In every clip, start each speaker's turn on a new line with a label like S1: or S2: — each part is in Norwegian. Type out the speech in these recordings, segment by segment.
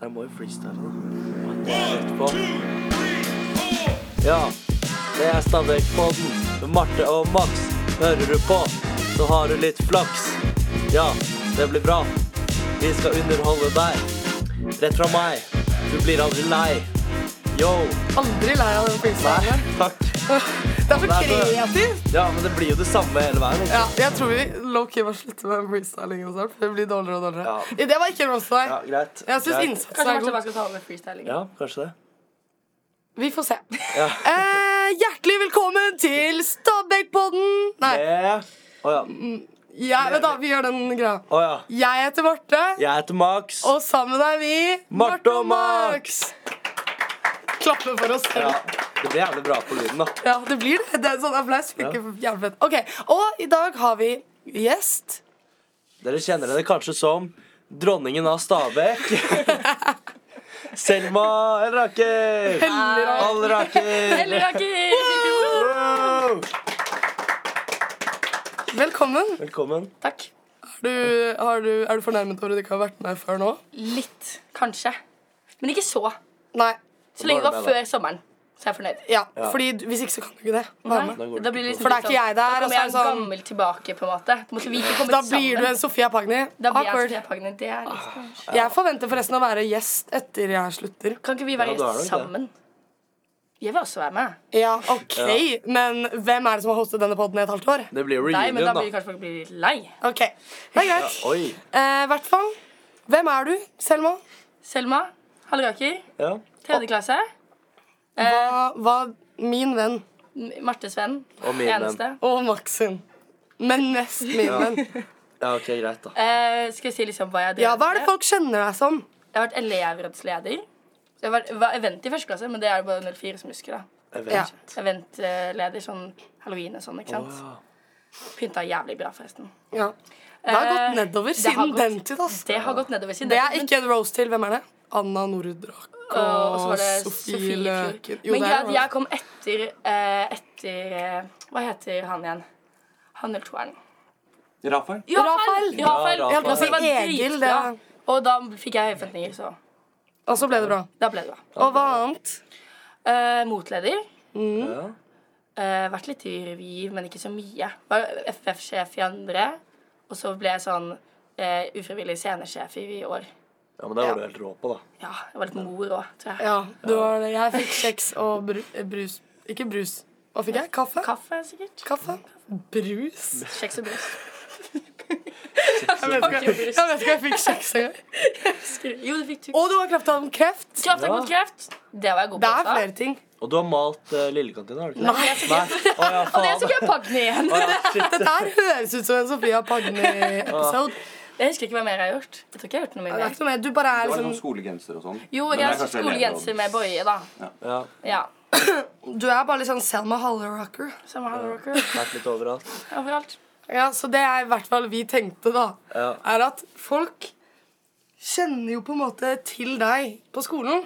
S1: Jeg må jo freestyle. da. Ja, det er Stabæk-podden med Marte og Max. Hører du på, så har du litt flaks. Ja, det blir bra. Vi skal underholde deg. Rett fra meg. Du blir aldri lei. Yo.
S2: Aldri lei av den freestylen.
S1: takk.
S2: Det er for
S1: Nei, for-
S2: kreativt.
S1: Ja, men det blir jo det samme hele veien. ikke?
S2: Ja, jeg tror vi low-key må slutte med freestyling og sånt. for Det blir dårligere og dårligere.
S1: Ja.
S2: Det var ikke en roast til
S1: Ja,
S2: deg.
S1: greit.
S2: Jeg syns
S1: Greit.
S2: innsatsen er
S3: Kanskje Marte bare
S2: god.
S3: skal ta over freestyling.
S1: Ja, kanskje det.
S2: Vi får se.
S1: Ja.
S2: Eh, hjertelig velkommen til Stabæk-podden. Nei,
S1: Eh, Å ja.
S2: jeg, vent da, vi gjør den greia.
S1: Å ja.
S2: Jeg heter Marte,
S1: Jeg heter Max.
S2: og sammen er vi
S1: Marte og
S2: Klappe for oss selv.
S1: Ja, det blir jævlig bra på lyden, da.
S2: Ja, det blir det. det er en sånn applaus funker jævlig fett. Ok, Og i dag har vi gjest.
S1: Dere kjenner henne kanskje som dronningen av Stabekk. Selma Elraker!
S2: Eller-
S1: Alraker!
S3: Eller Rakel!
S1: Wow!
S2: Velkommen.
S1: Velkommen.
S3: Takk.
S2: Er du, har du, er du fornærmet over at du ikke har vært med før nå?
S3: Litt, kanskje. Men ikke så.
S2: Nei.
S3: Så lenge det
S1: Bare
S3: var
S1: med, da.
S3: før sommeren, så er jeg fornøyd.
S2: Ja,
S1: Ja.
S2: fordi du- Hvis ikke, så kan du ikke det. Være
S3: Nei,
S2: med.
S1: går det
S3: da blir det
S1: ikke
S3: liksom
S2: For da er
S3: litt
S2: ikke
S3: sånn-
S2: jeg der,
S3: Da
S2: og så
S3: kommer
S2: er
S3: jeg
S2: det sånn-
S3: gammel tilbake, på en måte. Da måtte vi ikke kommet
S2: Da
S3: sammen.
S2: blir du en Sofia Pagni.
S3: Da blir jeg
S2: Awkward.
S3: Sofia Pagne. Det er litt
S1: Ah.
S3: cringe.
S2: Jeg forventer forresten å være gjest etter jeg slutter.
S3: Kan ikke vi
S1: Ja,
S3: være
S1: da er det
S3: gjest
S1: nok det.
S3: sammen? Jeg vil også være med.
S2: Ja, ok, Men hvem er det som har hostet denne podden i et halvt år?
S1: Det blir
S3: Nei, men da
S1: reunion,
S3: blir
S1: da.
S3: kanskje folk blir litt lei.
S2: Ok, Det er greit.
S1: Oi.
S2: Eh, hvert fall, hvem er du, Selma?
S3: Selma Halleraker,
S1: Ja. Ah.
S3: tredje klasse.
S2: Hva, hva min venn
S3: M- Martes venn.
S1: Og min venn.
S3: eneste.
S2: og Max sin. Men mest min venn.
S1: ja, ok, greit, da.
S3: Eh, skal jeg si liksom hva jeg
S2: Ja,
S3: drev
S2: Hva er det
S3: med?
S2: folk kjenner deg som?
S3: Jeg har vært elevrådsleder. Så Jeg var, var event i første klasse, men det er det bare 04 som husker. da
S1: Jeg
S2: Ja.
S1: vet.
S3: Eventleder sånn halloween og sånn. ikke sant?
S1: Wow.
S3: Pynta jævlig bra, forresten.
S2: Ja. Det har gått
S3: Eh,
S2: nedover
S3: det har
S2: siden
S3: gått-
S2: den tid. ass.
S3: Det har gått nedover siden
S2: Det
S3: den
S2: er
S3: tiden.
S2: ikke en roast til. Hvem er det? Anna Norudrak
S3: Øh, Og så var
S2: og
S3: det
S2: Sofie Løken. Jo,
S3: Men
S2: det
S3: greia er
S2: er
S3: at jeg kom etter eh, Etter eh, Hva heter han igjen? Han eller toeren?
S1: Rafael?
S2: Rafael!
S3: Ja, Rafael.
S1: Ja, Rafael. Jeg holdt på å
S2: si
S3: Det var
S2: Egil, det
S3: dritbra.
S2: er-
S3: Og da fikk jeg høye forventninger, så
S2: Og så ble det bra.
S3: da ble det bra.
S2: Og hva annet?
S3: Eh, motleder. Mm.
S1: Ja.
S3: Eh, vært litt i revy, men ikke så mye. Var FF-sjef i andre. Og så ble jeg sånn eh, ufrivillig scenesjef i år.
S1: ja, men det var du helt rå på, da.
S3: Ja, jeg var litt mor òg, tror jeg.
S2: Ja, du har det. Jeg fikk kjeks og bru, eh, brus. Ikke brus. Hva fikk jeg? Kaffe?
S3: Kaffe, sikkert.
S2: Kaffe? Brus?
S3: Kjeks og brus.
S2: Jeg vet ikke, jeg vet ikke om jeg fikk kjeks engang.
S3: Jo, du fikk
S2: Og du har krafta om kreft.
S3: Krafttak
S1: Ja.
S3: mot kreft. Det var jeg god
S2: Det
S3: på. altså.
S2: er
S3: også.
S2: flere ting.
S1: Og du har malt uh, lillekantina, har du ikke det?
S2: Nei.
S1: Nei? Å ja,
S3: Og det
S1: faen.
S3: så ikke jeg Pagni igjen.
S1: Å, ja, shit.
S2: Dette her høres ut som en Sofia Pagni-episode.
S3: Jeg husker ikke hva mer jeg har gjort. Jeg tror ikke jeg har gjort
S2: Det
S3: noe mye
S2: er
S3: mer.
S2: ikke noe mer. Du bare er
S4: Det
S3: Altså-
S4: var sånn
S2: liksom
S4: skolegenser og sånn.
S3: Jo, jeg
S4: Men det er
S3: har
S4: kanskje
S3: skolegenser
S4: elevråd.
S3: med Boje, da.
S1: Ja,
S3: Ja.
S2: Du er bare litt sånn Selma Hallerocker.
S3: Som hallrocker
S1: vært litt overalt.
S3: overalt.
S2: Ja, så det er i hvert fall vi tenkte da
S1: Ja.
S2: Er at folk kjenner jo på en måte til deg på skolen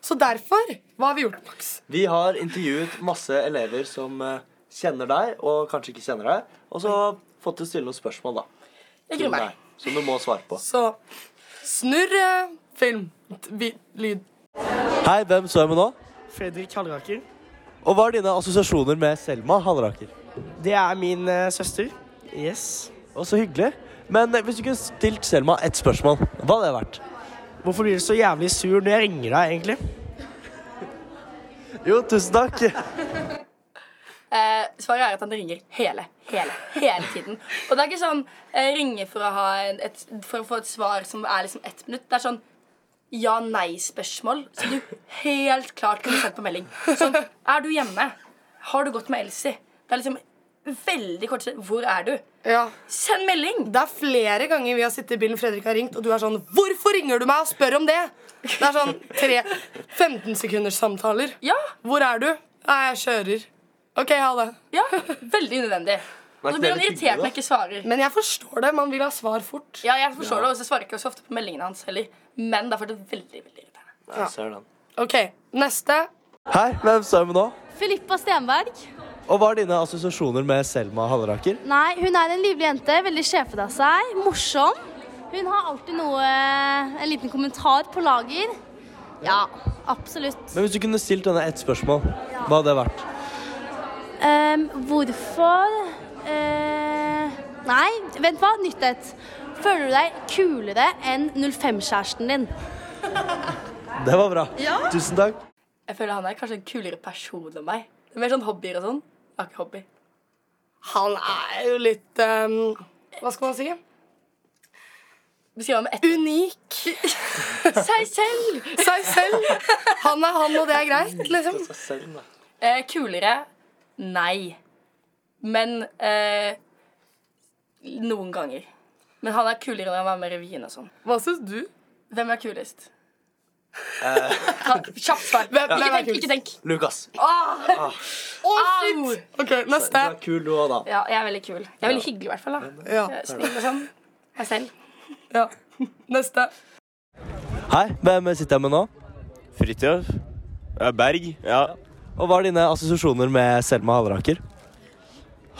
S2: Så derfor, hva har vi gjort, Max?
S1: Vi har intervjuet masse elever som eh, kjenner deg, og kanskje ikke kjenner deg. Og så fått til å stille noen spørsmål, da.
S3: Jeg
S1: Til
S3: gruer meg.
S1: deg, som du må svare på.
S2: Så snurr eh, film t- vi- Lyd
S1: Hei, hvem så jeg med nå?
S5: Fredrik Halleraker.
S1: Og hva er dine assosiasjoner med Selma Halleraker?
S5: Det er min eh, søster. Yes.
S1: Å, så hyggelig. Men eh, hvis du kunne stilt Selma ett spørsmål, hva hadde det vært?
S5: Hvorfor blir du så jævlig sur når jeg ringer deg, egentlig?
S1: Jo, tusen takk.
S3: Eh, svaret er at han ringer hele, hele, hele tiden. Og det er ikke sånn eh, ringe for å, ha en, et, for å få et svar som er liksom ett minutt. Det er sånn ja-nei-spørsmål som du helt klart kunne sendt på melding. Sånn Er du hjemme? Har du gått med Elsie? Det er liksom veldig kort Hvor er du?
S2: Ja,
S3: Send melding!
S2: det er flere ganger vi har sittet i bilen Fredrik har ringt Og du er sånn, hvorfor ringer du meg og spør om det? Det er sånn tre 15 sekunders samtaler
S3: Ja!
S2: Hvor er du? Nei, jeg kjører Ok, ha det
S3: ja Veldig unødvendig. Og så blir han
S1: litt hyggelig,
S3: irritert når jeg ikke svarer.
S2: Men jeg forstår det, man vil ha svar fort
S3: Ja, jeg forstår det, og så svarer jeg ikke så ofte på meldingene hans heller. Men det er fortsatt veldig, veldig irriterende.
S1: Jeg ser den.
S2: Ok, neste
S1: Hei, hvem så jeg med nå?
S6: Filippa Stenberg.
S1: Og hva er dine assosiasjoner med Selma Halleraker?
S6: Nei, hun er en livlig jente. Veldig sjefete av seg. Morsom.
S4: Hun har alltid noe eh, En liten kommentar på lager. Ja, absolutt.
S1: Men hvis du kunne stilt henne ett spørsmål, hva hadde det vært?
S4: Ehm, hvorfor eh, Nei, vent hva? Nytt et. Føler du deg kulere enn 05-kjæresten din?
S1: Det var bra. Tusen takk.
S3: Jeg føler han er kanskje en kulere person enn meg. Det er Mer sånn hobbyer og sånn. Jeg har ikke hobby.
S2: Han er jo litt ehm, Hva skal man si?
S3: Beskriv ham med ett
S2: Unik
S3: seg selv.
S2: seg selv. Han er han, og det er greit, liksom.
S3: Eh, kulere? Nei. Men eh, noen ganger. Men han er kulere når han var med i revyen og sånn.
S2: Hva syns du?
S3: Hvem er kulest? Ta- Kjapt svar.
S2: Hvem-
S3: Ikke
S2: hvem er
S3: tenk,
S2: kulest?
S3: ikke tenk.
S1: Lukas.
S2: Å,
S3: Au!
S2: shit! OK,
S1: Du
S2: neste.
S1: er kul, du òg, da.
S3: Ja, jeg er veldig kul. Jeg er veldig hyggelig i hvert fall. da.
S2: Ja,
S3: Eh, Snill og sånn. Meg selv.
S2: ja. Neste.
S1: Hei, hvem sitter jeg med nå?
S6: Fridtjof? Ja, Berg? Ja.
S1: Og hva er dine assosiasjoner med Selma Halleraker?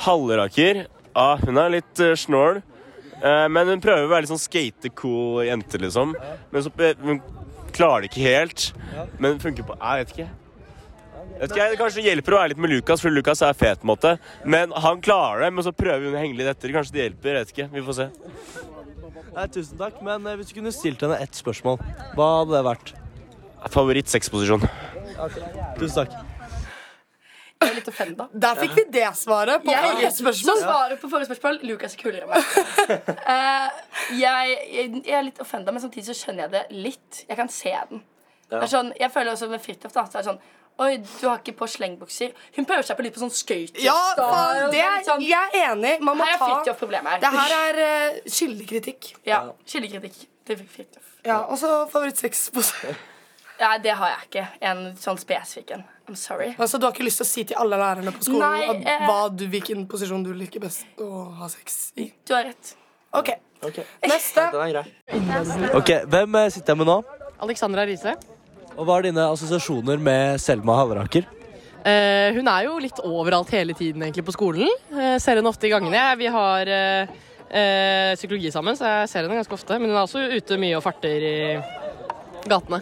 S6: Halleraker? Ja, hun er litt eh, snål. Eh, men hun prøver å være litt sånn skate-cool jente, liksom. Men så eh, hun klarer det ikke helt. Men det funker på Jeg vet ikke. Jeg vet ikke, jeg- Det kanskje hjelper å være litt med Lukas, for Lukas er fet. på en måte Men han klarer det, men så prøver hun å henge litt etter. Kanskje det hjelper. jeg vet ikke, Vi får se.
S1: Nei, tusen takk, men eh, hvis du kunne stilt henne ett spørsmål, hva hadde det vært?
S6: Favoritt-sexposisjon.
S1: Tusen takk.
S3: Jeg er litt offenda.
S2: Der fikk vi det svaret på
S3: Jeg,
S2: forrige spørsmål.
S3: Så svaret på forrige spørsmål Lukas er kulere enn meg. Eh, jeg, jeg, jeg er litt offenda, men samtidig så skjønner jeg det litt. Jeg kan se den. Det er sånn, jeg føler også med Fridtjof da, så er det sånn Oi, du har ikke på slengbukser. Hun prøver seg på litt på sånn skøyter.
S2: Ja,
S3: star,
S2: faen,
S3: og
S2: det
S3: litt
S2: er,
S3: sånn,
S2: jeg er enig. Man må
S3: Her er
S2: ta
S3: Fridtjof-problemet
S2: Det
S3: her.
S2: her er eh, kildekritikk.
S3: Ja, Kildekritikk. Det fikk Fridtjof.
S2: Ja, og så favorittsex på
S3: Nei, det har jeg ikke. En sånn spesifikk en. I'm sorry.
S2: Altså, du har ikke lyst til å si til alle lærerne på skolen
S3: Nei,
S2: at,
S3: eh.
S2: hva du, hvilken posisjon du liker best å ha sex i?
S3: Du har rett.
S2: OK.
S1: Ok.
S2: Neste.
S1: Ok, Hvem eh, sitter jeg med nå?
S7: Alexandra Riise.
S1: Og hva er dine assosiasjoner med Selma Halleraker?
S7: Eh, hun er jo litt overalt hele tiden egentlig på skolen. Eh, ser henne ofte i gangene. Vi har eh, eh, psykologi sammen, så jeg ser henne ganske ofte. Men hun er også ute mye og farter i gatene.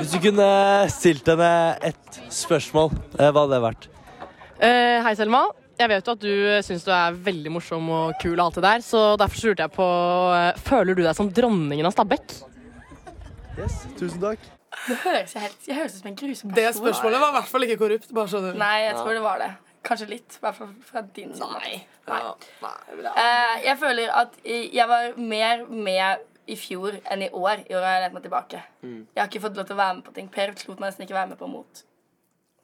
S1: Hvis du kunne eh, stilt henne ett spørsmål, eh, hva hadde det vært?
S7: Eh, hei, Selma. Jeg vet jo at du eh, syns du er veldig morsom og kul, og alt det der, så derfor så lurte jeg på eh, Føler du deg som dronningen av Stabekk?
S1: Tusen takk.
S3: Høres jeg, helt, jeg høres ut som en grusom
S2: Det
S3: person.
S2: spørsmålet var i hvert fall ikke korrupt. Bare så du
S3: Nei, jeg tror det var det. Kanskje litt. I hvert fall fra din side. Nei. Eh, jeg føler at i- jeg var mer med i fjor enn i år. I år har jeg lent meg tilbake. Jeg har ikke fått lov til å være med på ting. Per lot meg nesten ikke være med på Mot.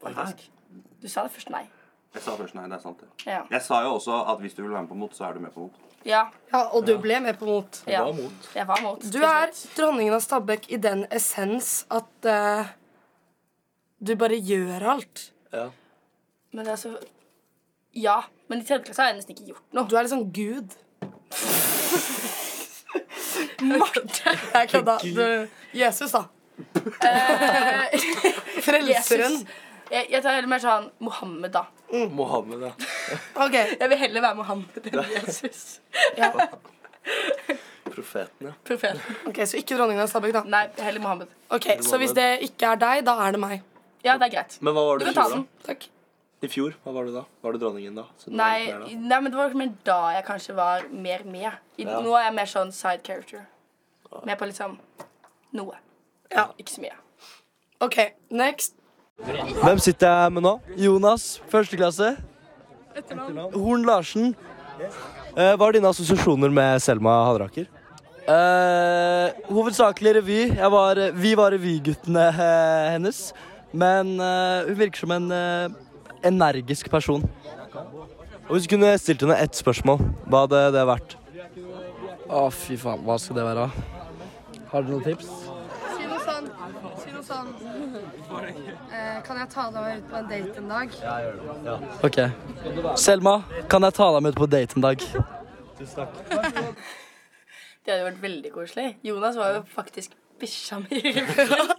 S3: Faktisk. Du sa det først nei.
S8: Jeg sa først nei, det er sant. det.
S3: Ja.
S8: Jeg sa jo også at hvis du vil være med på mot, så er du med på mot.
S3: Ja.
S2: Ja, og du ble med på mot.
S3: ja. Jeg var mot.
S2: Du
S3: til
S2: er
S3: slutt.
S2: dronningen av Stabekk i den essens at eh, du bare gjør alt.
S3: Men det er så Ja. Men i tredje klasse har jeg nesten ikke gjort noe.
S2: Du er liksom gud.
S3: Marte!
S2: Jeg kødda. Du- Jesus, da. Frelseren.
S3: Jesus. Jeg, jeg tar heller mer sånn Mohammed, da.
S1: Mohammed, ja.
S2: OK.
S3: Jeg vil heller være Mohammed enn Jesus.
S1: Profeten, ja.
S3: Profeten.
S2: ok, Så ikke dronningen av Stabekk, da.
S3: Nei, heller Mohammed.
S2: Ok, Så hvis det ikke er deg, da er det meg.
S3: Ja, det er greit.
S1: Men hva var du i
S3: Du kan ta
S1: fjor, da?
S3: den.
S2: Takk.
S1: I fjor, hva var du da? Var du dronningen da? Så du var litt mer
S3: Nei,
S1: da?
S3: nei, men det var mer da jeg kanskje var mer med. I,
S1: Ja.
S3: Nå er jeg mer sånn side character. Med på liksom noe.
S2: Ja.
S3: Ikke så mye.
S2: OK, next.
S1: Hvem sitter jeg med nå? Jonas, første klasse. Horn Larsen. Eh, hva er dine assosiasjoner med Selma Halleraker? Eh, hovedsakelig revy. Jeg var, vi var revyguttene eh, hennes. Men eh, hun virker som en eh, energisk person. Og Hvis du kunne stilt henne ett spørsmål, hva hadde det vært?
S5: Å, fy faen. Hva skal det være? Har du noen tips?
S9: Si noe sånn, si noe sånn eh, Kan jeg ta deg med ut på en date en dag?
S5: OK. Selma, kan jeg ta deg med ut på date en dag?
S3: Det hadde vært veldig koselig. Jonas var jo faktisk bikkja mi i revyen.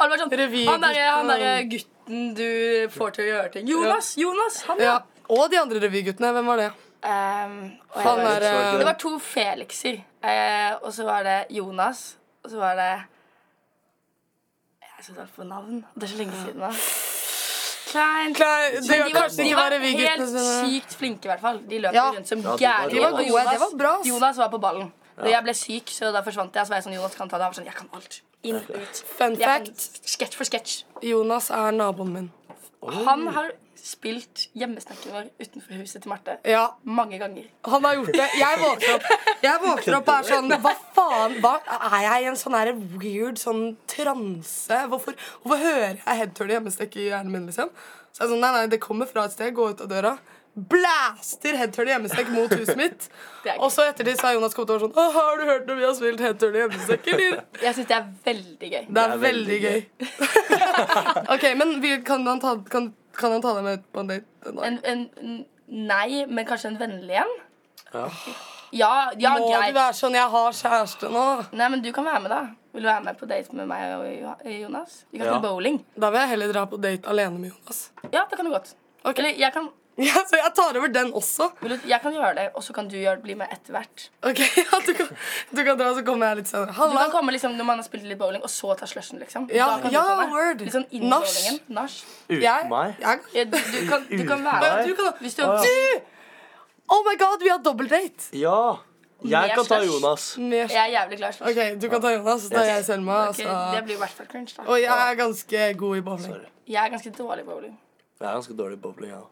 S3: Han var sånn Han derre han derre gutten du får til å gjøre ting. Jonas! Jonas! Han, ja.
S2: Ja. Og de andre revyguttene. Hvem var det?
S3: Ehm, og jeg
S2: Han
S3: vet
S2: er,
S3: ikke.
S2: eh,
S3: Det var to Felixer. eh, og så var det Jonas. Og så var det Jeg syns alt for navn. Det er så lenge siden, da. Klein.
S2: Klei,
S3: Men
S2: det, kanskje de var
S3: helt
S2: revyguttene.
S3: sykt flinke, i hvert fall. De løp
S2: Ja.
S3: rundt som
S1: Ja, de var
S3: gærne.
S1: gode. De var
S3: Og
S2: gode,
S3: Jonas-
S2: det var bra, ass.
S3: Jonas var på ballen. Og jeg ble syk, så da forsvant jeg. Så var jeg sånn, Jonas kan ta det. Han var sånn, jeg kan alt. Inn, ut.
S2: Fun
S3: Jeg kan
S2: fact,
S3: sketsj for sketsj.
S2: Jonas er naboen min.
S3: Han har spilt hjemmesnekkeren vår utenfor huset til Marte
S2: Ja,
S3: mange ganger.
S2: han har gjort det. Jeg våkner opp Jeg våkner opp og er sånn Hva faen? Hva? Er jeg i en sånn her weird sånn transe? Hvorfor, hvorfor hører jeg headturn i hjemmestekk i hjernen min? liksom? Så jeg er sånn, nei, nei, Det kommer fra et sted. Gå ut av døra. Blaster headturn i hjemmestekk mot huset mitt.
S3: Det er gøy.
S2: Og så etter det så har Jonas kommet over sånn Å, har du hørt når vi har spilt headturn i hjemmestekk, eller?
S3: Jeg syns det er veldig gøy.
S2: Det er veldig gøy. ok, men vi- kan han ta, kan, kan han ta deg med på en date? en dag?
S3: En, en, en nei, men kanskje en vennlig en? Ja, ja,
S2: Må du
S3: greit.
S2: være sånn 'jeg har kjæreste nå'?
S3: Nei, men du kan være med, da. Vil du være med på date med meg og Jo- Jonas? Vi kan
S1: Ja.
S3: til bowling.
S2: Da vil jeg heller dra på date alene med Jonas.
S3: Ja, det kan du godt. Eller jeg kan,
S2: Ja, så jeg tar over den også.
S3: vil du, jeg kan gjøre det, og så kan du gjøre, bli med etter hvert.
S2: Ok, ja, du, kan, du kan dra, så kommer jeg litt senere.
S3: Du kan
S2: Halla!
S3: komme liksom når man har spilt litt bowling, og så ta slushen, liksom.
S2: Ja,
S3: Da kan du
S2: ja,
S3: komme.
S2: word.
S3: Litt sånn inn i
S2: Nach.
S3: bowlingen. Nach.
S2: Jeg,
S1: meg?
S2: jeg,
S3: Ja, du, du, kan, du kan være
S2: Å, ja, du kan-
S3: Hvis du har
S2: du! Oh my god, vi har dobbeltdate!
S1: Ja! Jeg
S3: Mer
S1: kan ta
S3: slush.
S1: Jonas.
S2: Mer
S3: Jeg er jævlig glad i slush.
S2: Ok, du kan ta Jonas, da er jeg Selma.
S3: Ok, det
S2: Altså.
S3: blir i hvert fall cringe, da.
S2: Og jeg er ganske god i bowling.
S1: Sorry.
S3: Jeg er ganske dårlig i bowling.
S1: Jeg er ganske dårlig i bowling. Ja.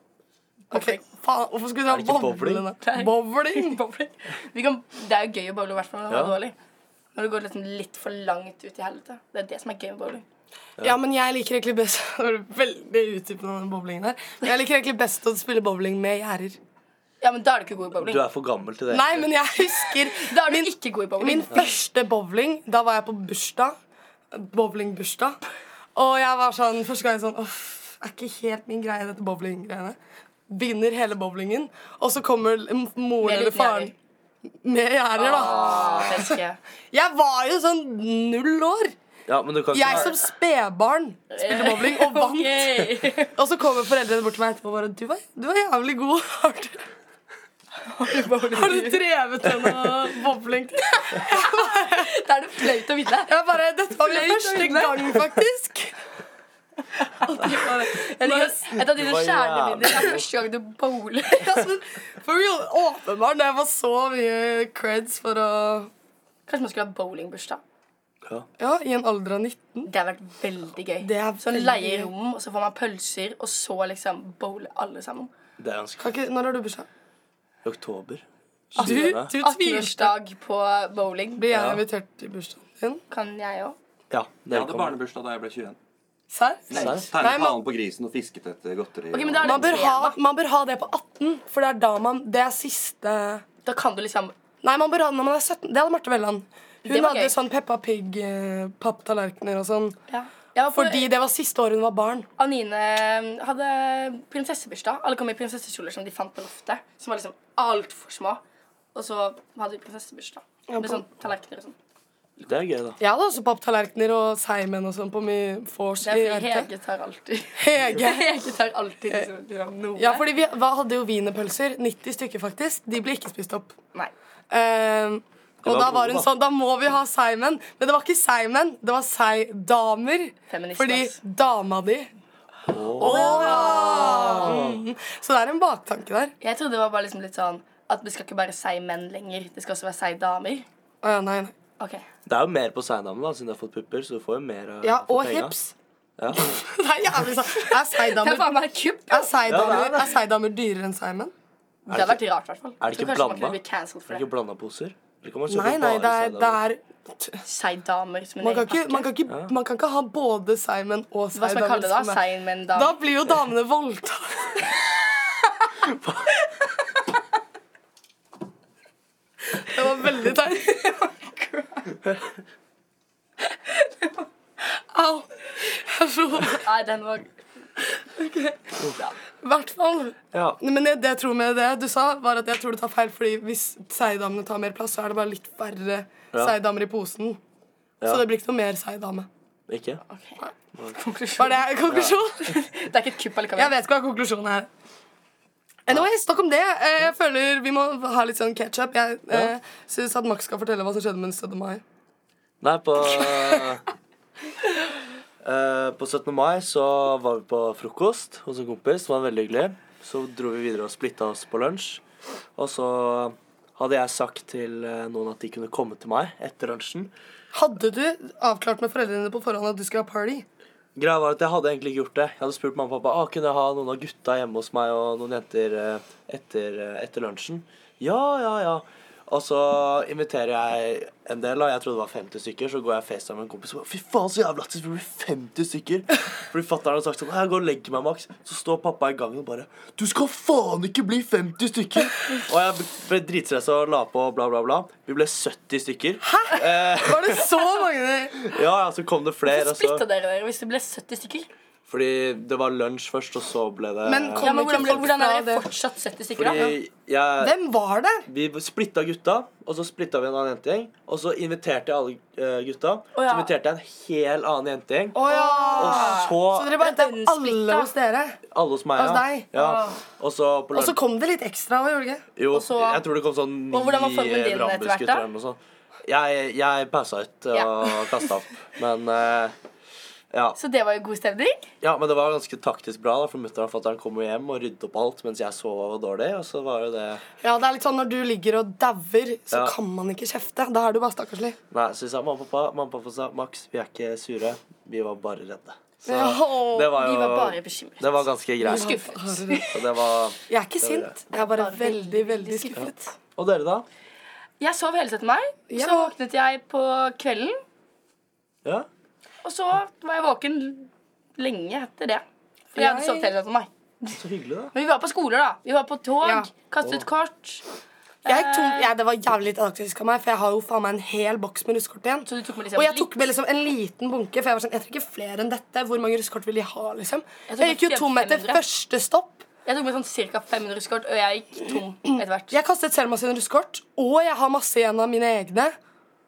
S2: Ok, faen, Hvorfor skulle
S1: det ikke
S2: du ha bowling?
S1: bowling?
S2: da? Bowling?
S3: Bowling. Vi kan, det er jo gøy å bowle, i hvert fall når man
S1: Ja.
S3: er dårlig. Når det går liksom litt for langt ut i helvete. Det er det som er gøy med bowling.
S2: Ja, men jeg liker egentlig best Det var veldig utdypende om den bowlingen her. Men jeg liker egentlig best å spille bowling med gjerder.
S3: Ja, men da er du ikke god i bowling.
S1: Du er for gammel til det.
S2: Nei, men jeg husker
S3: Da er du ikke god i bowling.
S2: min første bowling. Da var jeg på bursdag. Bowlingbursdag. Og jeg var sånn første gang sånn Uff, er ikke helt min greie, dette bowlinggreiene. Begynner hele bowlingen, og så kommer l- m- moren
S3: Med
S2: eller
S3: liten
S2: faren med gjerder, da.
S3: Ah, det elsker jeg.
S2: Jeg var jo sånn null år.
S1: Ja, men du kan ikke
S2: Jeg som spedbarn spilte bowling og vant.
S3: Yay.
S2: Og så kommer foreldrene bort til meg etterpå og bare du var, du var jævlig god. Har du, har du drevet med noe bowling?
S3: Da er det flaut å vinne.
S2: Jeg bare Dette var min
S3: Flaut å
S2: første
S3: vinne.
S2: gang, faktisk.
S3: Jeg liker- Et av dine
S1: var
S3: kjerneminner er første gang du bowler.
S2: Altså, For real, åpenbart. Det var så mye creds for å
S3: Kanskje man skulle ha bowlingbursdag.
S2: Ja, i en alder av 19.
S3: Det har vært veldig gøy.
S2: Det er
S3: Sånn
S2: veldig
S3: leie
S2: gøy.
S3: rom, og så får man pølser, og så liksom bowle alle sammen.
S1: Det er ganske
S2: Kan ikke, når har du bursdag?
S1: I oktober.
S2: Du, du tvilte.
S3: 18-årsdag på bowling
S2: Blir jeg invitert til bursdagen din?
S3: kan jeg òg.
S1: Ja,
S8: Jeg
S1: dere
S8: hadde
S1: kommer.
S8: barnebursdag da jeg ble 21.
S2: Serr?
S1: Serr?
S2: Nei,
S8: Tegnet
S2: man-
S8: halen på grisen og fisket etter godteri.
S3: Ok, men
S8: og-
S3: da er det
S2: Man, bør
S3: tema.
S2: ha- man bør ha det på 18, for det er da man Det er siste
S3: Da kan du liksom
S2: Nei, man bør ha den når man er 17. Det hadde Marte Velland. Hun
S3: Det var
S2: hadde
S3: gøy.
S2: sånn Peppa Pig-papptallerkener og sånn.
S3: ja. Jeg var på
S2: Fordi det var siste året hun var barn.
S3: Anine ehm, hadde prinsessebursdag. Alle kom i prinsessekjoler som de fant på loftet. Som var liksom altfor små. Og så hadde vi prinsessebursdag. Med sånn tallerkener og sånn.
S1: Det er gøy, da.
S2: Jeg hadde også papptallerkener og seigmenn og sånn på min vors
S3: Det
S2: i
S3: er fordi
S2: RT.
S3: Hege tar alltid
S2: Hege.
S3: Hege tar alltid liksom, liksom noe.
S2: Ja, fordi vi hva hadde jo wienerpølser. 90 stykker, faktisk. De ble ikke spist opp.
S3: Nei.
S2: Ehm, og
S1: var
S2: da var
S1: gode,
S2: hun
S1: da.
S2: sånn Da må vi ha seigmenn. Men det var ikke seigmenn, det var seigdamer.
S3: Feminist,
S2: Fordi
S3: ass.
S2: dama di Åh. Mm. Så det er en baktanke der.
S3: Jeg trodde det var bare liksom litt sånn at det skal ikke bare si menn lenger. Det skal også være si damer.
S2: Å ja, nei, nei.
S3: Ok.
S1: Det er jo mer på seindamen, da, siden du har fått pupper. Så du får jo mer eh,
S2: Ja,
S1: for
S2: og
S1: penga.
S2: hips.
S1: Ja.
S2: Det er jævlig sant. Er
S3: Det er
S2: seigdamer
S3: faen meg kupp.
S2: er
S1: Ja, det er
S2: seigdamer-
S1: det.
S2: er seigdamer dyrere enn seigmenn?
S3: Det hadde vært rart, i hvert fall.
S1: Er det ikke
S3: Så kanskje man kunne
S1: blanda?
S3: bli cancelled
S1: Er
S3: for
S1: det
S3: det.
S1: ikke blanda poser? Eller kan man kjøpe
S2: Nei, nei, det
S1: bare
S2: er, det
S1: seindamen?
S2: er
S3: Si damer som en
S2: man kan,
S3: egen
S2: ikke, man, kan ikke, man kan ikke ha både seigmenn og
S3: Hva skal man
S2: seigdamer.
S3: kalle det da?
S2: som er-
S3: Si menn, damer?
S2: Da blir jo damene voldtatt. Det var veldig teit. Au. Jeg er så I
S3: Nei, den var
S2: hvert fall.
S1: Ja.
S2: Men jeg, det jeg tror med det du sa, var at jeg tror du tar feil, fordi hvis seigdamene tar mer plass, så er det bare litt færre seigdamer i posen. Så
S1: Ja.
S2: det blir ikke noe mer seigdame.
S1: Ikke?
S2: Var det konklusjon?
S3: Det er ikke et kupp allikevel.
S2: Jeg vet ikke hva konklusjonen er. Anyways, nok om det. Eh, Jeg føler vi må ha litt sånn ketchup. Jeg eh, syns at Max skal fortelle hva som skjedde med den 17. mai.
S1: Nei, på eh, På 17. mai så var vi på frokost hos en kompis. Det var veldig hyggelig. Så dro vi videre og splitta oss på lunsj. Og så hadde jeg sagt til eh, noen at de kunne komme til meg etter lunsjen.
S2: Hadde du avklart med foreldrene dine på forhånd at du skulle ha party?
S1: Greia var at jeg hadde egentlig ikke gjort det. Jeg hadde spurt mamma og pappa ah, kunne jeg ha noen av gutta hjemme hos meg og noen jenter eh, etter, eh, etter lunsjen. Ja, ja, ja. Og så inviterer jeg en del, da. jeg trodde det var 50 stykker. Så går jeg FaceTime med en kompis og bare fy faen, så jævla lættis, det blir 50 stykker. Fordi fatter'n hadde sagt sånn, jeg går og legger meg, Max. Så står pappa i gangen og bare du skal faen ikke bli 50 stykker. Og jeg ble dritstressa og la på bla, bla, bla. Vi ble 70 stykker. Hæ? Eh,
S2: Var det så mange?
S1: ja, ja, så kom det flere.
S3: Så
S1: og så-
S3: splitta dere dere hvis det ble 70 stykker.
S1: fordi det var lunsj først, og så ble det
S2: Men kom-
S3: Ja, men Hvordan, ble, hvordan er
S2: Ja,
S3: dere
S2: det-
S3: fortsatt 70 stykker, da?
S1: Fordi jeg
S2: Hvem var der?
S1: Vi splitta gutta, og så splitta vi en annen jentegjeng. Og så inviterte jeg alle eh, gutta.
S3: Å,
S1: Så
S3: ja.
S1: inviterte jeg en hel annen jentegjeng.
S2: Å ja!
S1: Og
S2: Så dere bare
S3: Den
S2: henta alle
S3: splitta.
S2: hos dere?
S1: alle hos meg.
S2: Hos
S1: ja.
S2: deg?
S1: Ja. Og så på
S2: Og så
S1: lunsj
S2: kom det litt ekstra òg, gjorde det ikke?
S1: Jo,
S3: og så-
S1: jeg tror det kom sånn ni
S3: Og hvordan var formen din etter hvert, da?
S1: Brambus-gutter eller noe sånt. Jeg, jeg passa ut og
S3: Ja.
S1: kasta opp. Men eh, ja.
S3: Så det var jo god stemning.
S1: ja. Men det var ganske taktisk bra, da, for mutter'n og fatter'n kom jo hjem og ryddet opp alt mens jeg sov dårlig. Og så var jo det
S2: Ja, det er litt sånn Når du ligger og dauer, så
S1: Ja.
S2: kan man ikke kjefte. Da er du bare stakkarslig.
S1: Nei, så vi sa mamma og pappa, mamma og pappa sa Max, vi er ikke sure, vi var bare redde. Så
S2: Ja, og
S1: det var
S3: Vi
S1: jo
S3: var bare bekymret.
S1: Det var ganske greit.
S3: Skuffet.
S1: Så det var
S2: Jeg er ikke
S1: Det var det.
S2: sint. Jeg er bare
S3: Bare
S2: veldig, veldig
S3: veldig
S2: skuffet.
S1: Og dere, da?
S3: Jeg sov hele 17. mai.
S2: Ja.
S3: Så våknet jeg på kvelden,
S1: Ja?
S3: og så var jeg våken lenge etter det. For jeg hadde
S2: Jeg-
S3: sovet hele 17. mai.
S1: Så hyggelig, da.
S3: Men vi var på skoler, da. Vi var på tog,
S2: Ja.
S3: kastet kort.
S2: Jeg tok, jeg, det var jævlig lite taktisk av meg, for jeg har jo faen meg en hel boks med russekort igjen.
S3: Så du tok med liksom
S2: Og jeg
S3: litt-
S2: tok med liksom en liten bunke, for jeg var sånn, jeg trenger ikke flere enn dette. Hvor mange russekort vil de ha, liksom?
S3: Jeg tok
S2: Jeg gikk jo tom etter
S3: 500.
S2: første stopp.
S3: Jeg tok med sånn ca. 500 russekort, og jeg gikk tom etter hvert.
S2: Jeg kastet Selma sine russekort, og jeg har masse igjen av mine egne.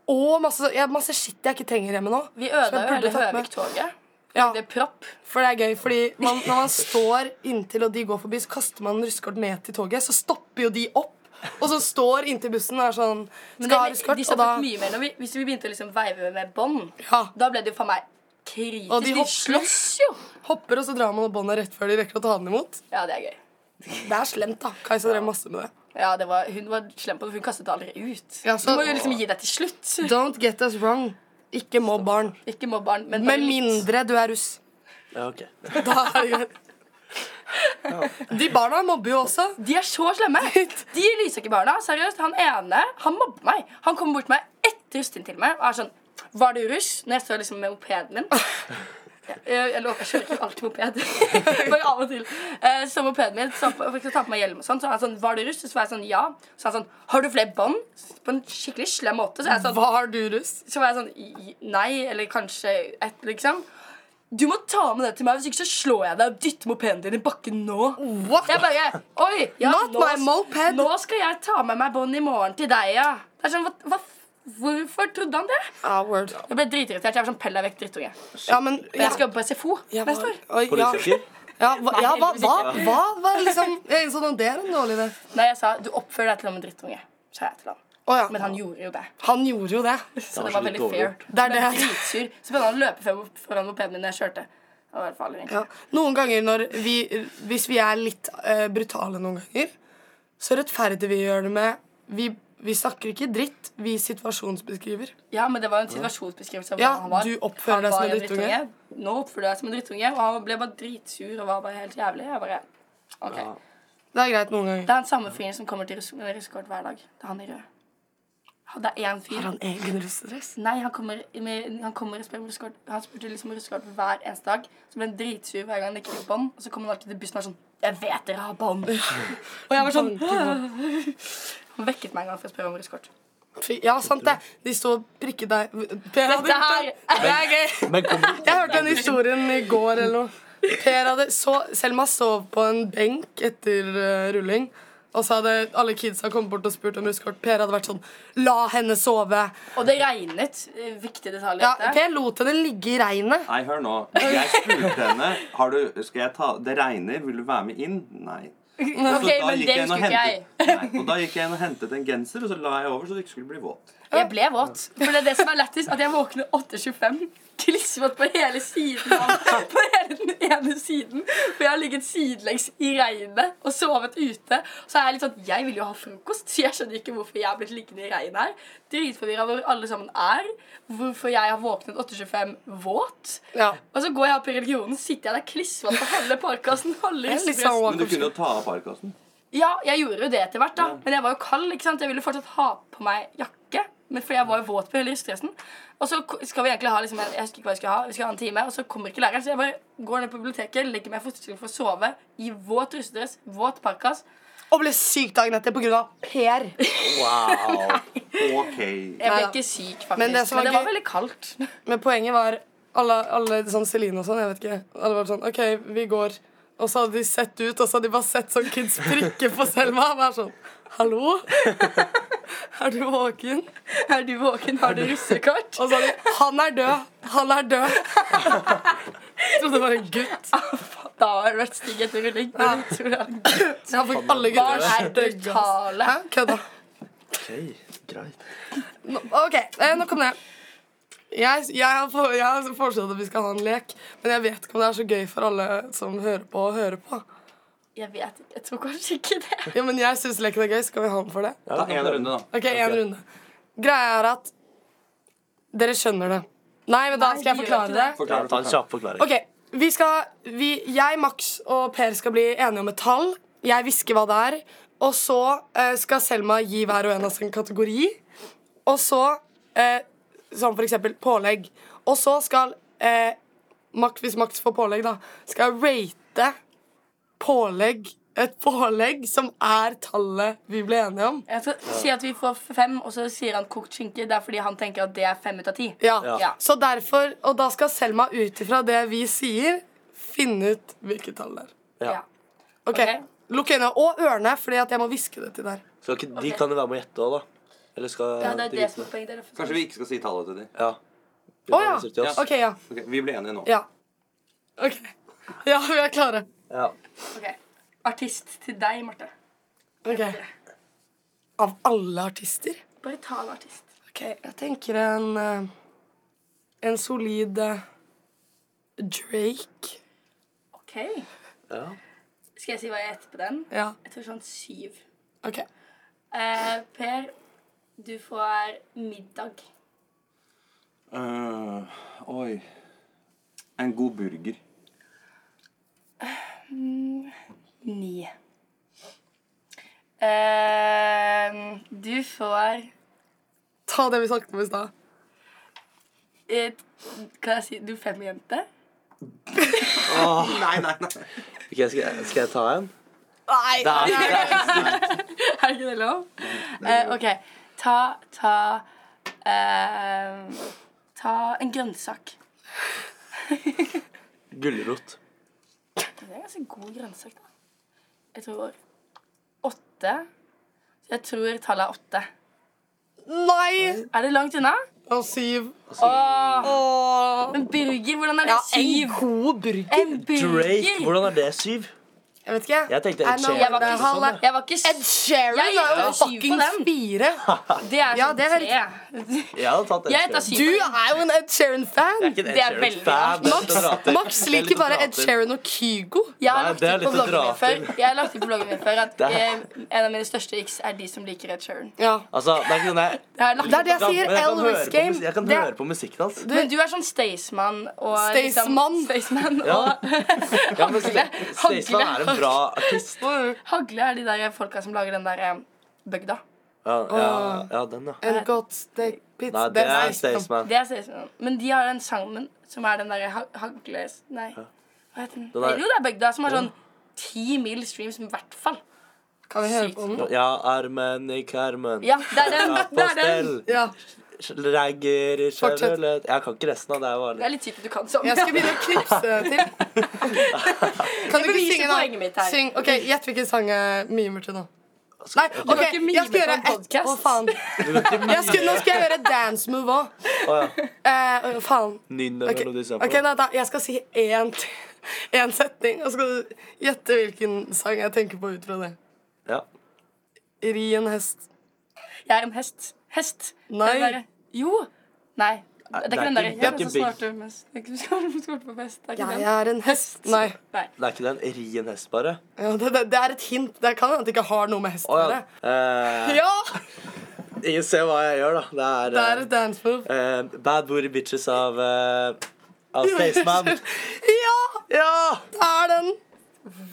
S2: Og masse, jeg, har masse shit jeg ikke trenger hjemme nå.
S3: Vi
S2: som
S3: ødela
S2: jeg
S3: jo
S2: burde
S3: hele
S2: tatt med.
S3: Høvik-toget.
S2: Ja,
S3: Det er propp.
S2: for det er gøy, fordi man, når man står inntil, og de går forbi, så kaster man russekort ned til toget, så stopper jo de opp. Og så står inntil bussen og er sånn
S3: Men
S2: Skal ha
S3: det, de
S2: russekort, og
S3: stoppet
S2: da
S3: mye mer. Når vi, hvis vi begynte å liksom veive med bånd,
S2: ja,
S3: da ble det jo for meg kritisk.
S2: Og de
S3: de,
S2: hopper.
S3: slåss jo!
S2: hopper, og så drar man opp båndet rett før de rekker å ta den imot.
S3: Ja, det er gøy.
S2: Det er slemt, da. Kajsa drev masse med det.
S3: Ja, det var, Hun var slem på det, for hun kastet det aldri ut.
S2: Ja, så-
S3: du må jo liksom gi deg til slutt.
S2: Don't get us wrong. Ikke mobb barn.
S3: Ikke mobb barn, men bare
S2: Med
S3: litt.
S2: mindre du er russ.
S1: Ja, ok.
S2: Da er det greit. De barna mobber jo også.
S3: De er så slemme! De Lysaker-barna, seriøst, han ene han mobber meg. Han kommer bort til meg etter russetiden til meg og er sånn Var du russ? Når jeg står liksom med mopeden min. Jeg, jeg, jeg, lover, jeg kjører ikke alltid moped. Bare av og til. Eh, så mopeden min så på, for jeg skal ta på meg hjelm og sånn. Så er han sånn Var du russ? Så var jeg sånn Ja. Så er han sånn Har du flere bånd? På en skikkelig slem måte. Så er jeg sånn
S2: Var du russ?
S3: Så var jeg sånn i- i- Nei, eller kanskje et, liksom. Du må ta med det til meg, hvis ikke så slår jeg deg og dytter mopeden din i bakken nå.
S2: What?
S3: Jeg bare Oi! Ja,
S2: Not
S3: nå,
S2: my moped.
S3: Nå skal jeg ta med meg bånd i morgen til deg, ja. Det er sånn, hva, hva, Hvorfor trodde han det?
S2: Ah, word.
S3: Jeg ble dritirritert. Jeg var sånn pell deg vekk, drittunge.
S2: Ja, men
S3: Men jeg skal jobbe på SFO
S2: jeg var-
S3: neste år.
S2: Oi, ja.
S1: Politiker?
S2: Ja, hva, ja, hva, hva, hva var liksom Jeg innså at det er en dårlig idé.
S3: Nei, jeg sa du oppfører deg til ham en drittunge. Sa jeg til han.
S2: Å ja.
S3: Men han gjorde jo det.
S2: Han gjorde jo det.
S3: Så
S1: var
S3: det
S1: så
S3: var
S1: litt
S3: veldig
S1: dårlig
S3: fair.
S1: gjort.
S2: Det er
S3: Men
S2: det.
S3: dritsur. Så begynte han å løpe foran- foran mopeden min når jeg kjørte. Det var i hvert fall ingen.
S2: Ja. Noen ganger når vi Hvis vi er litt eh, brutale noen ganger, så rettferdiger vi gjør det med vi, vi snakker ikke dritt, vi situasjonsbeskriver.
S3: Ja, men det var jo en situasjonsbeskrivelse av
S2: Ja,
S3: hvordan han var.
S2: du oppfører
S3: Han
S2: deg som
S3: var
S2: en drittunge.
S3: Nå oppfører du deg som en drittunge, og han ble bare dritsur og var bare helt jævlig. Jeg bare, ok.
S2: Det er greit noen ganger.
S3: Det er den samme fyren som kommer til russ- russekort hver dag. Det er han i rød. Han- Det er én fyr.
S2: Har han egen russedress?
S3: Nei, han kommer, med, han kommer og spør om russekort. Han spurte liksom om russekort hver eneste dag. Så ble han dritsur hver gang han ikke fikk bånd. Og så kom han alltid til bussen og var sånn Jeg vet dere har bånd! og jeg var sånn Han vekket meg en gang for å spørre om russekort.
S2: Fy- Ja, sant det. De sto og prikket deg Per hadde gjort
S3: Dette her
S2: det. Det er gøy.
S1: Men kom,
S2: Jeg hørte den historien i går eller noe. Per hadde så, Selma sov på en benk etter eh, rulling. Og så hadde alle kidsa kommet bort og spurt om russekort. Per hadde vært sånn La henne sove.
S3: Og det regnet. eh, Viktig detalj. i
S2: Ja,
S3: dette.
S2: per lot henne ligge i regnet.
S8: Nei, hør nå. Jeg spurte henne har du, skal jeg ta, Det regner, vil du være med inn? Nei.
S3: OK,
S8: da
S3: men
S8: gikk
S3: det
S8: jeg inn og
S3: husker ikke jeg.
S8: hentet- Nei, og da gikk jeg inn og hentet en genser, og så la jeg over så du ikke skulle bli våt.
S3: Jeg ble våt. For det er det som er lættis, at jeg våkner 8.25. Klissvåt på hele siden av På hele den ene siden. For jeg har ligget sidelengs i regnet og sovet ute. Så er jeg litt sånn Jeg vil jo ha frokost, så jeg skjønner ikke hvorfor jeg er blitt liggende i regnet her. Dritforvirra hvor alle sammen er. Hvorfor jeg har våknet 8.25 våt.
S2: Ja.
S3: Og så går jeg opp i religionen, sitter jeg der klissvåt på halve parkasen. Halve
S2: Det er litt sånn
S3: russebussen.
S8: Men du
S2: walk of
S8: kunne jo ta av parkasen.
S3: Ja, jeg gjorde jo det etter hvert, da. Men jeg var jo kald. ikke sant? Jeg ville fortsatt ha på meg jakke. Men for jeg var jo våt på hele rystedressen. Og så ko- skal vi egentlig ha liksom, jeg jeg husker ikke hva jeg skal ha, vi skal ha en time, og så kommer ikke læreren. Så jeg bare går ned på biblioteket, legger meg i fosterstilling for å sove i våt rystedress, våt parkas.
S2: Og ble syk dagen etter pga. Per.
S8: Wow. OK.
S3: Jeg ble
S2: Nei da.
S3: ikke syk,
S2: Men
S3: faktisk. Men
S2: det
S3: det,
S2: som var
S3: var
S2: gøy-
S3: veldig kaldt.
S2: Men poenget var alle, alle sånn Celine og sånn, jeg vet ikke. Alle var sånn OK, vi går. Og så hadde de sett ut, og så hadde de bare sett sånn kids prikke på Selma. Og var sånn Hallo? Er du våken?
S3: Er du våken? Har du russekort?
S2: Og så hadde de Han er død! Han er død! Jeg trodde det var en gutt.
S3: Da har det vært stig etter rulling. Men jeg tror det er-
S2: Ja, for alle
S3: Barn
S2: gutter
S3: er brutale.
S2: Hæ? Kødda.
S1: Ok, greit.
S2: Nå- OK, eh, nå kom det. Jeg, jeg, har for- jeg har foreslått at vi skal ha en lek, men jeg vet ikke om det er så gøy for alle som hører på, å høre på.
S3: Jeg vet ikke. Jeg tror kanskje ikke det.
S2: Ja, men jeg syns leken er gøy. Skal vi ha den for det?
S8: Ta en runde, da.
S2: Ok, en runde. Greia er at dere skjønner det. Nei, men da
S3: Nei,
S2: skal jeg
S3: vi gjør
S2: forklare det.
S3: ikke
S8: Forklar,
S1: Ta en
S8: forklar.
S1: kjapp forklaring.
S2: Ok, vi skal vi, Jeg, Max og Per skal bli enige om et tall. Jeg hvisker hva det er. Og så eh, skal Selma gi hver og en av oss en kategori. Og så eh, Som for eksempel pålegg. Og så skal eh, Max, Hvis Max får pålegg, da, skal jeg rate pålegg et pålegg som er tallet vi ble enige om.
S3: Jeg skal si at vi får fem, og så sier han kokt skinke. Det er fordi han tenker at det er fem ut av ti.
S2: Ja.
S3: Ja.
S2: Så derfor, og da skal Selma ut ifra det vi sier, finne ut hvilket tall det er.
S1: Ja.
S3: Ja.
S2: Ok,
S3: Ok.
S2: Lukk øynene og ørene, fordi at jeg må hviske det til der.
S1: Skal ikke, de
S3: Ok.
S1: kan jo være med å gjette òg, da. Eller skal
S3: Ja, det er
S1: de
S3: det
S1: vite
S3: som er poenget. Dere får-
S8: Kanskje vi ikke skal si tallet til dem.
S1: Ja.
S2: Å ja.
S1: Til oss.
S2: Ok, ja.
S8: Ok, vi ble enige nå.
S2: ja. Ok. Ja, vi er klare.
S1: ja.
S3: Ok. Artist til deg, Marte.
S2: Ok. Av alle artister?
S3: Bare ta en artist.
S2: Ok, jeg tenker en eh, En solid eh, Drake.
S3: Ok. Skal jeg si hva jeg gjetter på den?
S2: Ja,
S3: Jeg tror sånn syv.
S2: ok.
S3: Eh, per, du får middag.
S8: Øh, oi. En god burger.
S3: Ni. Eh, du får
S2: Ta det vi snakket om i stad.
S3: et, Kan jeg si du fem jente?
S8: Nei, nei, nei.
S1: Ok, skal, skal jeg ta en?
S2: Nei!
S3: Er ikke det lov? Eh, OK. Ta ta eh, Ta en grønnsak.
S1: Gulrot.
S3: Det er en ganske god grønnsak, da. Jeg tror åtte. Så jeg tror tallet er åtte.
S2: Nei!
S3: Er det langt unna?
S2: Og syv.
S3: Åh,
S2: Åh.
S3: men burger, hvordan er det
S2: Ja, en
S3: syv?
S2: god burger.
S3: En burger?
S1: Drake. Hvordan er det syv?
S2: Jeg vet ikke.
S1: Jeg tenkte Ed
S2: I know
S1: Sheeran
S3: Jeg var
S2: the
S3: ikke
S2: hell
S3: sånn.
S2: I-
S3: Jeg var ikke
S2: Ed
S3: s-
S2: Sheeran
S3: Jeg
S2: er jo
S3: gikk syv på
S2: fuckings
S3: den.
S2: fire.
S3: Det er
S2: Ja,
S3: sånn
S2: det er
S3: tre.
S1: Jeg hadde tatt Ed
S3: Jeg
S1: Sheeran.
S3: heter syv.
S2: Du er jo en Ed Sheeran-fan.
S1: ikke en Ed
S3: Det er
S1: Sheeran
S3: veldig
S1: fan, det er litt å dra
S2: Max,
S1: til.
S2: Max
S1: Det er litt
S2: liker
S1: å
S2: bare
S1: dra
S2: Ed
S1: til.
S2: Sheeran og Kygo.
S3: Jeg
S1: Nei,
S3: har lagt
S1: det er
S3: ut på
S1: litt å dra
S3: bloggen min før, jeg har lagt ut på bloggen min før at eh, en av mine største x er de som liker Ed Sheeran.
S2: Ja.
S1: Altså, det er ikke sånn jeg
S3: Det har jeg
S2: Det
S3: lagt
S2: er det jeg
S1: Ja,
S2: sier.
S1: men jeg kan høre
S2: Elvis
S1: på
S2: Game.
S1: musikk- Jeg kan
S2: Det er-
S1: høre på musikken hans.
S3: Men du er sånn Staysman og
S2: Staysman.
S3: Liksom, Staysman
S1: Ja.
S3: og
S1: Ja, men
S3: Hagle.
S1: Staysman er en
S3: Hagle.
S1: bra artist.
S3: Hagle er de der folka som lager den der eh, bøgda.
S1: Ja, ja, ja den, ja.
S3: Eh,
S2: En godt stekt pizza
S1: Nei, det
S2: liksom-
S1: er Staysman.
S3: Det er Staysman. Men de har den sangen som er den derre ha Hagles Nei, hva heter den?
S1: Den der-
S3: Jo, det er Bøgda som har sånn ti mil streams i hvert fall.
S2: Kan vi høre på den?
S1: Ja, armen i karmen.
S3: Ja, det er den.
S1: Ja,
S3: Det er, den.
S1: Pastell.
S2: Ja.
S1: Ragger i
S2: Fortsett.
S1: Chevrolet Jeg kan ikke resten av det. Jeg
S3: det
S1: bare...
S3: er litt sykt at du kan sånn.
S2: Jeg skal begynne å knipse til. Kan du ikke
S3: Jeg beviser
S2: synge
S3: poenget mitt
S2: da?
S3: her.
S2: Syng. Ok, Gjett hvilken sang er mye til nå. Nei, ok,
S3: kan ikke mime
S2: jeg skal gjøre
S3: på en
S2: et Å,
S3: podcast.
S2: faen. Jeg skal, nå skal jeg gjøre et dance move òg.
S1: Å ja.
S2: faen.
S1: Nynn
S2: Ok,
S1: eller noe du ser på.
S2: ok, nei, da, jeg skal si én, t- én setning, og så skal du gjette hvilken sang jeg tenker på ut fra det.
S1: Ja.
S2: Ri en hest.
S3: Jeg er en hest. Hest.
S2: Nei.
S3: Den derre- Jo. Nei. Det er
S1: det er
S3: ikke den
S1: ikke-
S3: derre.
S1: det er
S3: Jeg er
S1: ikke
S3: den som
S1: big.
S3: snorter mest. Det er ikke- Du skal du skal på fest. Det er ikke
S2: Jeg
S3: den.
S2: er en hest. Nei.
S1: Det er ikke den. Ri en hest, bare.
S2: Ja, det, det, det er et hint. Det kan hende at det ikke har noe med hest
S1: Å
S2: å
S1: ja.
S2: gjøre.
S1: Eh,
S2: Ja!
S1: ingen ser hva jeg gjør, da. Det
S2: Det
S1: er,
S2: er et dance move.
S1: eh, eh, Bad Booty Bitches av eh, av Staysman.
S2: Ja!
S1: Ja!
S2: Det er den.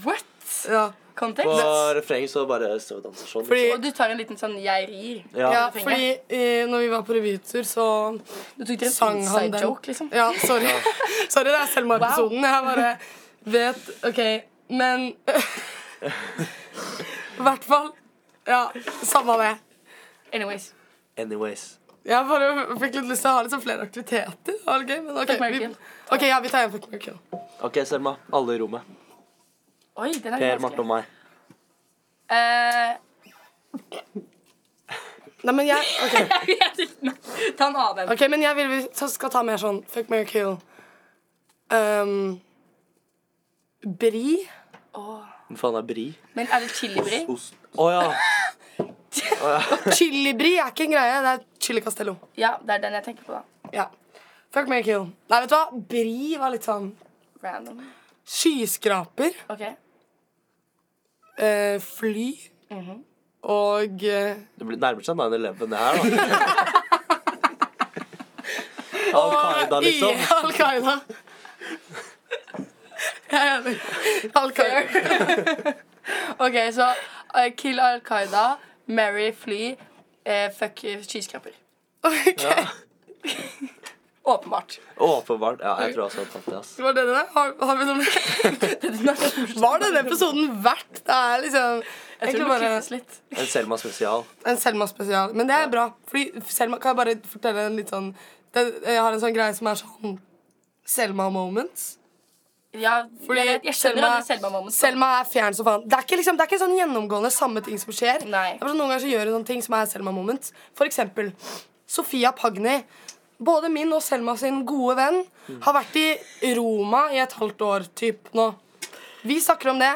S3: What?
S2: Ja.
S1: På
S3: Kontekst?
S1: refrenget så bare står det danser sånn.
S2: Fordi,
S3: Og du tar en liten sånn 'jeg rir'.
S2: ja,
S1: Ja.
S2: fordi eh, når vi var på revytur, så
S3: Du tok dere en
S2: sang han
S3: inside
S2: den.
S3: joke, liksom.
S2: Ja, sorry. sorry, det er Selma-episoden. Jeg bare vet OK, men I hvert fall. Ja, samme det.
S3: Anyways.
S1: Anyways.
S2: Jeg bare fikk litt lyst til å ha litt sånn flere aktiviteter. Det var gøy, men OK.
S3: Fuck Mary
S2: Vi,
S3: Kill.
S2: ok, ja, vi tar igjen Fuck Mary Kill.
S1: OK, Selma. Alle i rommet.
S3: Oi, den er
S1: Per,
S3: litt
S1: Marte og
S3: vanskelig.
S1: meg.
S3: Eh,
S2: Nei, men jeg, ok.
S3: jeg vet ikke. Nei, Ta en annen.
S2: ok, men jeg vil vi så skal ta mer sånn Fuck Mary Kill. Um, Bri.
S1: Hvem faen er Bri?
S3: Men er det chilibri?
S1: Å ja.
S2: Chilibri er ikke en greie. Det er chili castello.
S3: Ja, det er den jeg tenker på, da.
S2: Ja. Fuck Mary Kill. Nei, vet du hva? Bri var litt sånn
S3: Random.
S2: Skyskraper,
S3: OK.
S2: eh, fly Mhm. og eh,
S1: Det blir- nærmer seg 9-11, det her, da. Al Qaida, liksom.
S2: I- Al Qaida. Jeg er enig. Al Qaida.
S3: Ok, Så eh, kill Al Qaida, marry fly, eh, fuck eh, skyskraper.
S2: Ok,
S3: Åpenbart.
S1: Åpenbart. Ja, jeg tror jeg også hadde tatt det. ass.
S2: Var det det? Har, har vi noe Var denne episoden verdt? Det er liksom
S3: Jeg tror
S2: egentlig
S3: det må
S2: bare
S3: klippes litt.
S1: En Selma spesial.
S2: en Selma-spesial. Men det er bra. Fordi Selma, kan jeg bare fortelle en litt sånn det, Jeg har en sånn greie som er sånn Selma-moments.
S3: Ja, jeg, vet- jeg skjønner at det er Selma Moments.
S2: Selma er fjern som faen. Det er ikke, liksom, det er ikke sånn gjennomgående samme ting som skjer.
S3: Nei.
S2: Det er bare sånn, noen ganger så gjør hun sånne ting som er Selma Moment. For eksempel Sofia Pagni. Både min og Selma sin gode venn har vært i Roma i et halvt år typ nå. Vi snakker om det.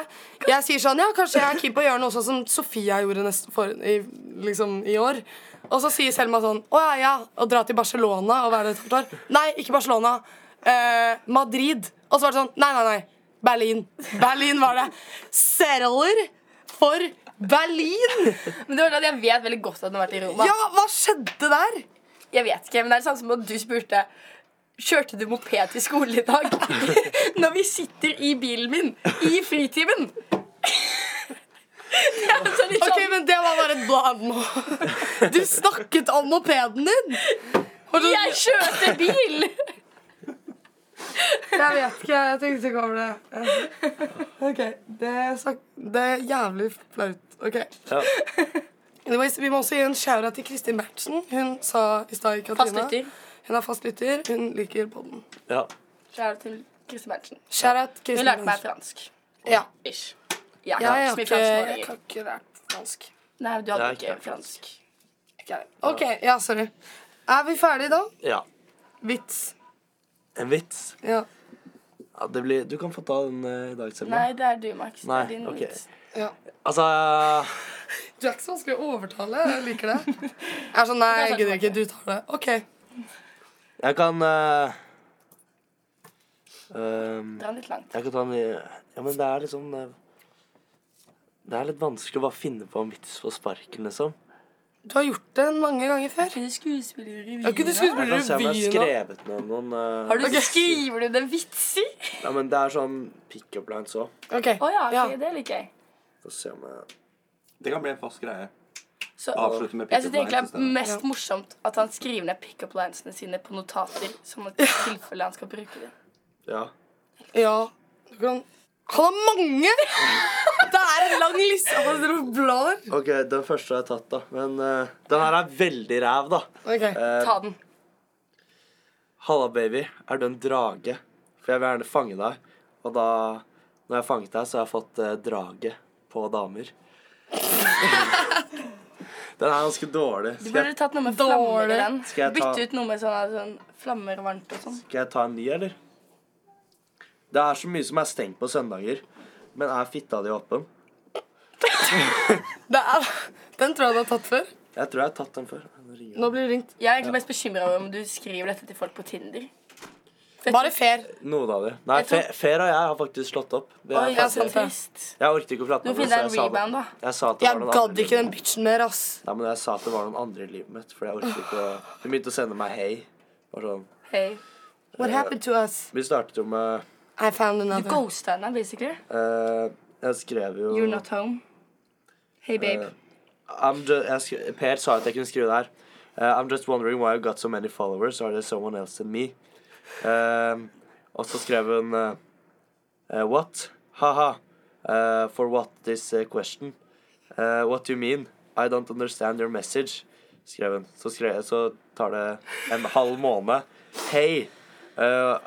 S2: Jeg sier sånn Ja, kanskje jeg er keen på å gjøre noe sånn som Sofia gjorde neste for, i, liksom, i år. Og så sier Selma sånn Å ja, ja. Å dra til Barcelona og være der et halvt år. Nei, ikke Barcelona. Eh, Madrid. Og så var det sånn Nei, nei, nei. Berlin. Berlin var det. Settler for Berlin!
S3: Men det var det at Jeg vet veldig godt at den har vært i Roma.
S2: Ja, hva skjedde der?
S3: Jeg vet ikke, men det er det samme som at du spurte Kjørte du moped til skolen i dag? Når vi sitter i bilen min i fritimen! Det er altså litt
S2: Ok,
S3: sånn
S2: men Det var bare et blad nå. Du snakket om mopeden din! Og du-
S3: Jeg kjørte bil!
S2: Jeg vet ikke, jeg tenkte ikke over det. Ok, Det er, sak- det er jævlig flaut. Ok.
S1: Ja.
S2: Anyways, vi må også gi en shout til Kristin Berntsen. Hun sa i stad i
S3: Fast
S2: Katrina
S3: lytter.
S2: Hun er fast lytter. Hun liker podden.
S1: ja.
S3: Shout-out til Kristin Berntsen.
S2: Shout-out
S3: Hun
S2: Kristin
S3: lærte meg
S2: Berntsen.
S3: fransk.
S2: Ja.
S3: Ish.
S2: Jeg,
S3: Jeg kan
S2: er
S3: ikke så mye
S2: ikke,
S3: fransk nå
S2: jeg
S3: lenger.
S2: kan ikke lært fransk.
S3: Nei, du hadde
S1: Jeg
S3: ikke
S1: kan
S3: fransk.
S2: OK, ja, sorry. Er vi ferdige da?
S1: ja.
S2: Vits.
S1: En vits.
S2: Ja.
S1: Ja, det blir, du kan få ta den eh, i dag, Selma.
S3: Nei, det er du, Max. Det
S1: Nei,
S3: er din
S1: ok.
S3: vits.
S2: ja.
S1: Altså
S2: Du er ikke så vanskelig å overtale. Jeg liker det. Jeg er sånn, nei, jeg gidder ikke. Du tar det. OK.
S1: Jeg kan eh, ehm,
S3: Dra den litt langt.
S1: Jeg kan ta en Ja, men det er liksom eh, Det er litt vanskelig å bare finne på en vits på sparken, liksom.
S2: Du har gjort det mange ganger før.
S3: Er du skuespiller
S2: Jeg
S3: i
S2: kunne
S3: revyen?
S1: Jeg kan
S2: skuespille
S1: se om jeg har
S2: revyen nå.
S1: skrevet ned noen eh,
S3: Har du Skriver du det vitser?
S1: Ja, men det er sånn pick-up lines òg.
S2: Ok,
S3: Å ja, ok,
S2: ja.
S3: det liker jeg.
S1: Få se om jeg
S8: Det kan bli en fast greie.
S3: Så
S8: Avslutte med
S3: Jeg synes
S8: pick-up
S3: egentlig
S8: lines i
S3: det er
S8: stedet.
S3: mest morsomt at han skriver ned pick-up linesene sine på notater, sånn at i tilfelle han skal bruke dem.
S1: Ja.
S2: ja. Du kan... Han har mange! Det er en lang liste. Han dro blader.
S1: OK, den første har jeg tatt, da. Men eh, den her er veldig ræv, da.
S2: Ok,
S1: Eh,
S3: Ta den.
S1: Halla, baby. Er du en drage? For jeg vil gjerne fange deg. Og da, når jeg har fanget deg, så har jeg fått eh, drage på damer. Den er ganske dårlig.
S3: Du
S1: Skal
S3: burde
S1: jeg,
S3: tatt noe med flammer i den.
S1: Skal jeg ta-
S3: Bytte ut noe med sånn, sånn flammer varmt og sånn.
S1: skal jeg ta en ny, eller? Det er så mye som er stengt på søndager. Men er fitta di åpen?
S2: Det er, den tror jeg du har tatt før.
S1: Jeg tror jeg har tatt den før. Nå ringer
S2: Nå blir det ringt.
S3: Jeg er egentlig mest bekymra over om du skriver dette til folk på Tinder.
S2: Bare fair.
S1: den. Noen av dem. Nei,
S3: Jeg tror-
S1: Fe- Fer og jeg har faktisk slått opp. Vi
S3: Oi,
S1: er
S3: jeg er
S1: faktisk-
S3: så trist.
S1: Jeg orket ikke å prate
S3: Du
S1: med
S3: må finne deg en
S1: så jeg sa det.
S3: rebound, da.
S1: Jeg sa at det var
S2: Jeg
S1: noen
S2: gadd
S1: andre i
S2: ikke den
S1: livet.
S2: bitchen mer, ass.
S1: Nei, men jeg sa at det var noen andre i livet mitt, for jeg orket ikke å Hun begynte å sende meg hei. Og sånn.
S3: Hei.
S2: What happened to us?
S1: Vi startet jo med
S2: I found
S3: Du
S2: another.
S3: ghosta henne, basically.
S1: eh, Jeg skrev jo
S3: You're not home. Hey, babe.
S1: Eh, I'm ju- jeg skre, Per sa at jeg kunne skrive der. Uh, I'm just wondering why I've got so many followers. Are there someone else than me? Um, og så skrev hun eh, eh, What? Haha. Eh, for what this eh, question? Eh, what do you mean? I don't understand your message. Skrev hun. Så, skrev, så tar det en halv måned. Hey! eh,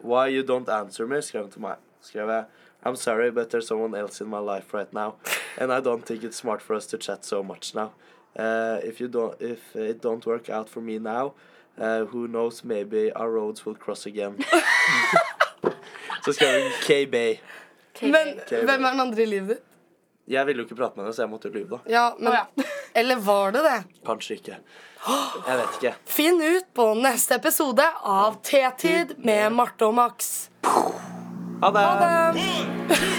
S1: why you don't answer me? Skrev hun til meg. Skrev jeg I'm sorry, but there's someone else in my life right now, and I don't think it's smart for us to chat so much now. Uh, if you don't, if it don't work out for me now, uh, who knows? Maybe our roads will cross again. så skrev hun K-Bay.
S3: Hey,
S2: Men
S3: babe.
S2: hvem er den andre i livet ditt?
S1: Jeg ville jo ikke prate med henne, så jeg måtte jo lyve, da.
S2: Ja, men
S3: Å, ja.
S2: Eller var det det?
S1: Kanskje ikke. Jeg vet ikke.
S2: Finn ut på neste episode av T-tid med Marte og Max.
S1: Ha det!
S2: Ha det!